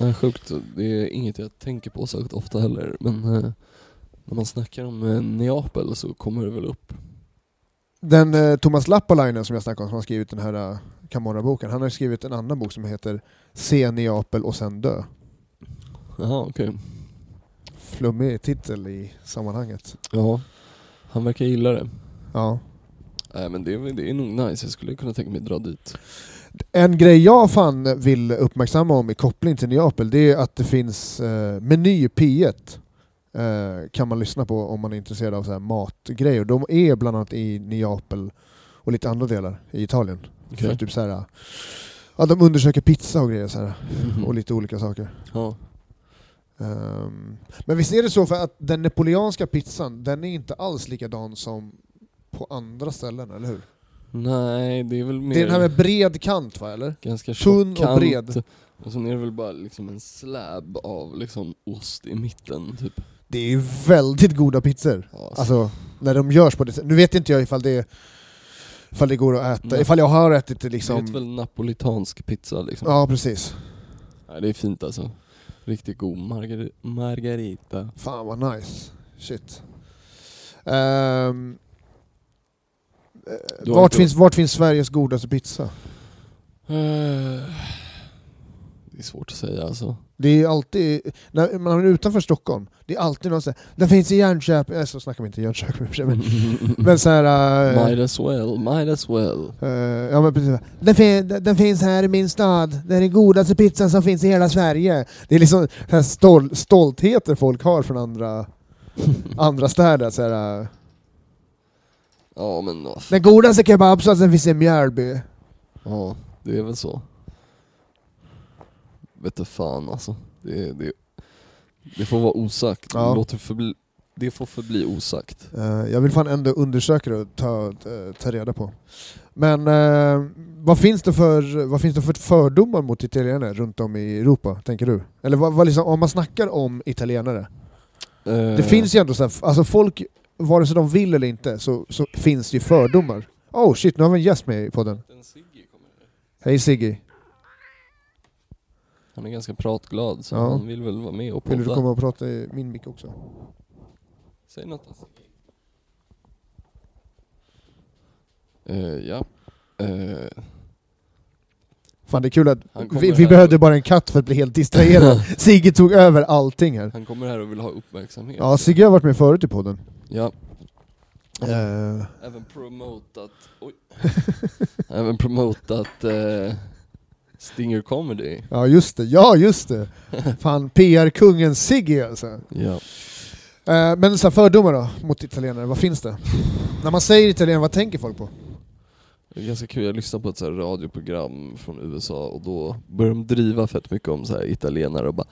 S2: Nej, sjukt. Det är inget jag tänker på särskilt ofta heller, men eh, när man snackar om eh, Neapel så kommer det väl upp.
S1: Den eh, Thomas Lappalainen som jag snackade om, som har skrivit den här eh, Camorra-boken, han har ju skrivit en annan bok som heter Se Neapel och sen dö.
S2: Jaha, okej.
S1: Flummig titel i sammanhanget.
S2: Ja. Han verkar gilla det.
S1: Ja.
S2: Nej men det, är väl- det är nog nice, jag skulle kunna tänka mig dra dit.
S1: En grej jag fan vill uppmärksamma om i koppling till Neapel, det är att det finns eh, Meny P1. Eh, kan man lyssna på om man är intresserad av så här matgrejer. De är bland annat i Neapel och lite andra delar i Italien. För
S2: Okej.
S1: typ så här, ja, de undersöker pizza och grejer så här, och
S2: Mhm.
S1: lite olika saker.
S2: Ja.
S1: Ehm, men visst är det så för att den napoleanska pizzan, den är inte alls likadan som på andra ställen, eller hur?
S2: Nej, det är väl mer
S1: Det är den här med bred kant va, eller?
S2: ganska
S1: tunn och
S2: tjock kant.
S1: bred.
S2: Och sen är det väl bara liksom en slab av liksom ost i mitten typ.
S1: Det är ju väldigt goda pizzor.
S2: Ja, så-
S1: Alltså när de görs på det sättet. Nu vet inte jag ifall det, ifall det går att äta,
S2: Nej.
S1: ifall jag har ätit det
S2: det är
S1: liksom.
S2: väl napolitansk pizza liksom.
S1: Ja precis.
S2: Nej, det är fint alltså. Riktigt god margar- margarita.
S1: Fan vad nice. Shit. Ehm, eh,
S2: Du har
S1: vart,
S2: inte-
S1: finns, vart finns Sveriges godaste pizza?
S2: Eh, Det är svårt att säga alltså.
S1: Det är ju alltid, när man är utanför Stockholm, det är alltid någon såhär, den finns i Jönköping, Nej, så snackar vi inte Jönköping i och för sig,
S2: Mm.
S1: men, men såhär... eh,
S2: might as well, might as well.
S1: eh, ja men precis, den, fin, den finns här i min stad, det är den godaste pizzan som finns i hela Sverige. Det är liksom så här stol, stoltheter folk har från andra, andra städer. Så här, eh,
S2: Ja men vad
S1: den godaste kebabsåsen finns i Mjölby.
S2: Ja, det är väl så. Vet du fan alltså. Det, det, det får vara osagt.
S1: Ja.
S2: Det, låter förbli, det får förbli osagt.
S1: Eh, jag vill fan ändå undersöka det och ta, eh, ta reda på. Men eh, vad, finns det för, vad finns det för fördomar mot italienare runt om i Europa, tänker du? Eller vad, vad liksom, om man snackar om italienare,
S2: Eh.
S1: det finns ju ändå så här, alltså folk, vare sig de vill eller inte, så, så finns det ju fördomar. Oh shit, nu har vi en gäst med i podden. Hej Siggy,
S2: Han är ganska pratglad så
S1: Ja.
S2: han vill väl vara med och
S1: vill du
S2: podda.
S1: komma och prata i min mick också?
S2: Säg något alltså. Eh, ja. Eh,
S1: Fan det är kul att
S2: Han kommer
S1: vi, vi
S2: här.
S1: behövde bara en katt för att bli helt distraherad. Sigge tog över allting här.
S2: han kommer här och vill ha uppmärksamhet.
S1: Ja, Sigge har varit med förut i podden.
S2: Ja,
S1: Eh,
S2: även promotat... Oj. även promotat eh, Stinger Comedy.
S1: Ja just det, ja just det! Fan PR-kungen Sigge alltså.
S2: Ja.
S1: Eh, Men så här, fördomar då, mot italienare, vad finns det? När man säger italienare, vad tänker folk på?
S2: Det är ganska kul, jag lyssnade på ett så här radioprogram från USA och då började de driva fett mycket om så här italienare och bara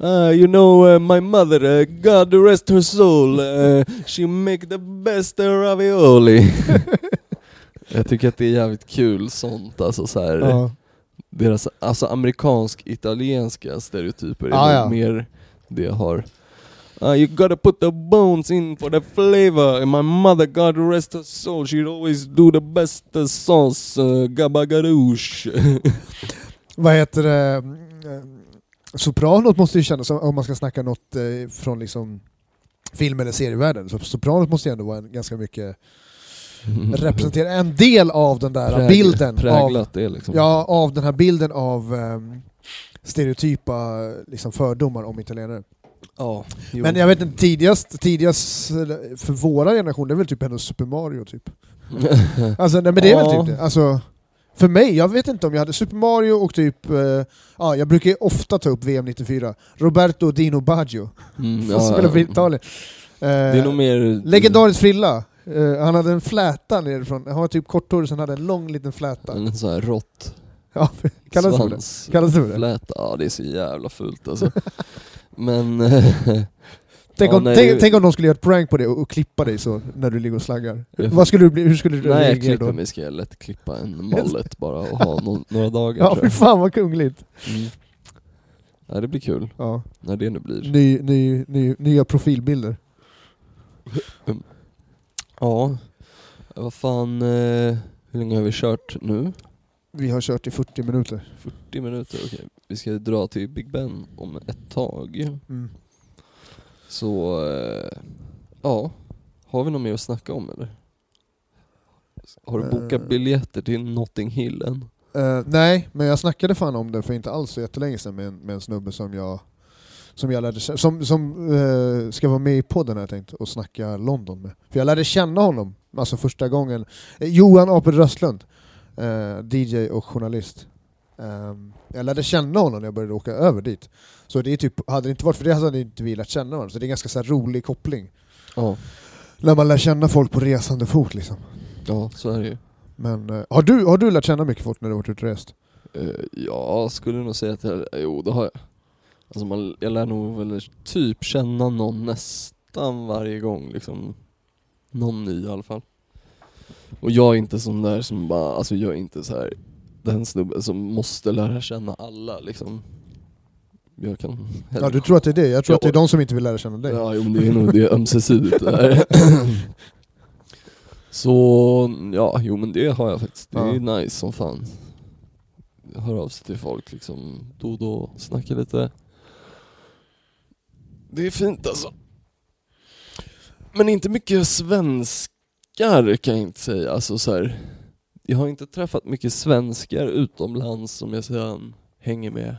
S2: "Ah, you know uh, my mother, uh, God rest her soul, uh, she make the best ravioli. jag tycker att det är jävligt kul sånt, alltså så här,
S1: Ja.
S2: deras alltså amerikansk-italienska stereotyper är
S1: Ah,
S2: nog
S1: ja.
S2: mer det jag har. Uh, you gotta put the bones in for the flavor. And my mother, God rest her soul, she'd always do the best uh, sauce. Uh, gabagadoosh.
S1: Vad heter det? Eh, Sopranot måste ju kännas, som- om man ska snacka något eh, från liksom film eller serievärlden, så Sopranot måste ju ändå vara en, ganska mycket representera en del av den där
S2: Prägl-
S1: bilden. Av,
S2: Präglat det liksom.
S1: ja, av den här bilden av ehm, stereotypa liksom, fördomar om italienare.
S2: ja jo.
S1: Men jag vet inte, tidigast, tidigast eh, för våra generation, det är väl typ ändå Super Mario typ. Alltså, nej, men det är
S2: Ja.
S1: väl typ det. Alltså, för mig, jag vet inte om jag hade Super Mario och typ, eh, ja, jag brukar ju ofta ta upp VM 94, Roberto Dino Baggio,
S2: Mm,
S1: som spelade för Italien. Eh,
S2: Det är nog mer...
S1: Legendarisk frilla. Eh, han hade en fläta nerifrån, han var typ korthårig sen hade en lång liten fläta.
S2: En sån här rått
S1: Ja, kallas det för det?
S2: Mm. svans.
S1: Kallas det för det?
S2: Fläta. Ja, det är så jävla fult alltså. Men... eh,
S1: Tänk
S2: Ja,
S1: om,
S2: nej.
S1: tänk, tänk om någon skulle göra ett prank på det och, och klippa dig så när du ligger och slaggar.
S2: Ja.
S1: Vad skulle du bli, hur skulle du
S2: Nej, jag
S1: reagera
S2: klipper
S1: då?
S2: mig ska jag lätt klippa en mallet bara och ha no några dagar
S1: Ja,
S2: tror
S1: fy
S2: jag.
S1: fan vad kungligt.
S2: Mm. Ja, det blir kul
S1: Ja.
S2: när det nu blir.
S1: Ny, ny, ny, nya profilbilder.
S2: Ja, vad fan, eh, hur länge har vi kört nu?
S1: Vi har kört i 40 minuter.
S2: 40 minuter, okej. Vi ska dra till Big Ben om ett tag.
S1: Mm.
S2: Så, eh, ja. Har vi något mer att snacka om eller? Har du
S1: Eh.
S2: bokat biljetter till Notting Hill än?
S1: Eh, nej, men jag snackade fan om det för inte alls så jättelänge sedan med en, med en snubbe som jag, som jag lärde känna, som, som eh, ska vara med i podden har jag tänkt och snacka London med. För jag lärde känna honom, alltså första gången. Eh, Johan Apel Röstlund, eh, DJ och journalist. Ehm, jag lärde känna honom när jag började åka över dit. Så det är typ, hade det inte varit för det hade inte vi lärt känna varandra, så det är en ganska så här rolig koppling.
S2: Ja,
S1: När man lär känna folk på resande fot liksom.
S2: ja så är det ju.
S1: Men eh, har, du, har du lärt känna mycket folk när du har varit ute och rest?
S2: Eh, ja, skulle nog säga att jag, jo det har jag. Alltså man, jag lär nog väl typ känna någon nästan varje gång liksom. Någon ny i alla fall. Och jag är inte sån där som bara, alltså jag är inte så här den snubben som måste lära känna alla liksom. Jag kan
S1: Ja, du tror att det är det? Jag tror
S2: Ja,
S1: att det är
S2: och-
S1: de som inte vill lära känna dig.
S2: Ja, jo, men det är nog det ömsesidigt det där. Så, ja, jo men det har jag faktiskt. Det är
S1: Ja.
S2: nice som fan. Jag hör av sig till folk liksom då och då, snackar lite. Det är fint alltså. Men inte mycket svenskar kan jag inte säga. Alltså så här, jag har inte träffat mycket svenskar utomlands som jag sedan hänger med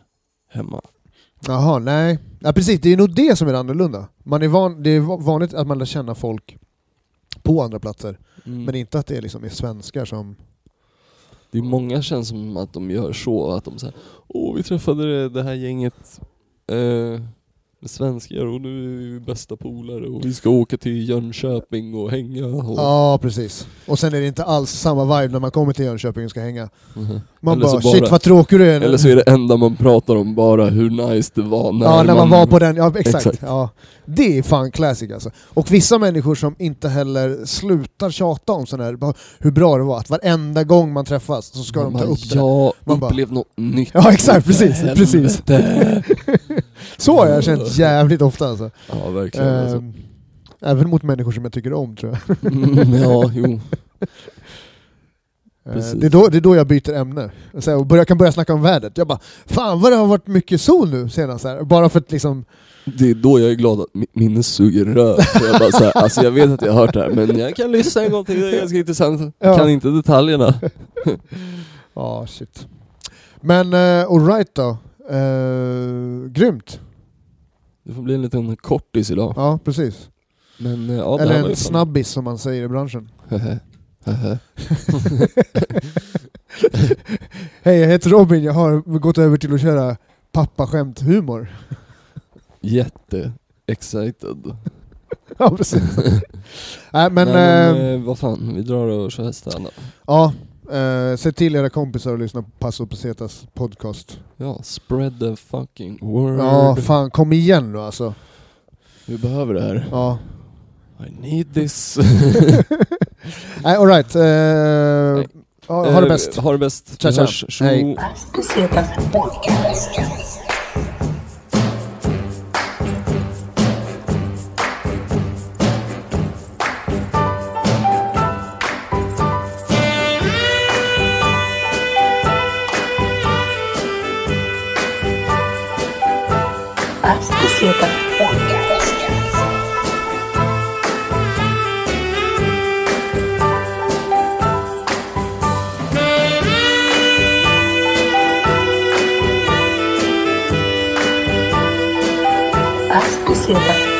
S2: hemma.
S1: Jaha, nej. Ja, precis, det är nog det som är det annorlunda. Man är van, det är va- vanligt att man lär känna folk på andra platser,
S2: Mm.
S1: men inte att det är liksom är svenskar som...
S2: Det är många känns som att de gör så, att de säger Åh, vi träffade det- det här gänget eh, med svenskar och nu är vi bästa polare och vi ska åka till Jönköping och hänga och...
S1: Ja, precis. Och sen är det inte alls samma vibe när man kommer till Jönköping och ska hänga.
S2: Mhm.
S1: Man
S2: Eller så
S1: bara,
S2: bara-
S1: shit vad tråkig du är.
S2: Eller så är det enda man pratar om bara hur nice det var när,
S1: ja, när man, var på den, ja exakt.
S2: Exakt.
S1: Ja. Det är fan classic alltså. Och vissa människor som inte heller slutar tjata om sån här, bara, hur bra det var, att varenda gång man träffas så ska de ta
S2: bara,
S1: upp det.
S2: Ja,
S1: Man bara-
S2: upplev något nytt.
S1: Ja exakt, precis,
S2: Helvete."
S1: precis. Så har jag känt jävligt ofta alltså.
S2: Ja, verkligen alltså.
S1: Ehm, Även mot människor som jag tycker om tror jag.
S2: Mm, ja, jo.
S1: Ehm,
S2: Precis.
S1: Det är, då, det är då jag byter ämne. Så här, och börjar, kan börja snacka om vädret. Jag bara, fan vad det har varit mycket sol nu senast. Här. Bara för att liksom,
S2: Det är då jag är glad att mitt minne suger röv. För Jag, bara så här, alltså jag vet att jag har hört det här men jag kan lyssna en gång till, det är ganska intressant.
S1: Ja.
S2: Kan inte detaljerna.
S1: ja shit. Men uh, alright då. Uh, grymt.
S2: Det får bli en liten kortis idag.
S1: Ja, precis.
S2: Men eh, ja, det här var
S1: Eller
S2: ju
S1: en
S2: fan-
S1: snabbis som man säger i branschen. Hej, jag heter Robin. Jag har gått över till att köra pappaskämt-humor.
S2: Jätte excited.
S1: ja, precis. Nej, men,
S2: men
S1: eh,
S2: eh, vad fan, vi drar och kör standup.
S1: ja. Eh, se till era kompisar att lyssna på Passo Pesetas podcast.
S2: Ja, spread the fucking word.
S1: Ja, fan kom igen nu alltså.
S2: Vi behöver det här.
S1: Ja.
S2: I need this.
S1: Nej, alright. Eh, ha, ha det
S2: Eh,
S1: bäst.
S2: Ha det bäst.
S1: Tja,
S2: Vi
S1: tja.
S2: hörs. Tjo.
S1: Hej.
S3: Astuciotas tá Podcast. Astuciotas Podcast. Astuciotas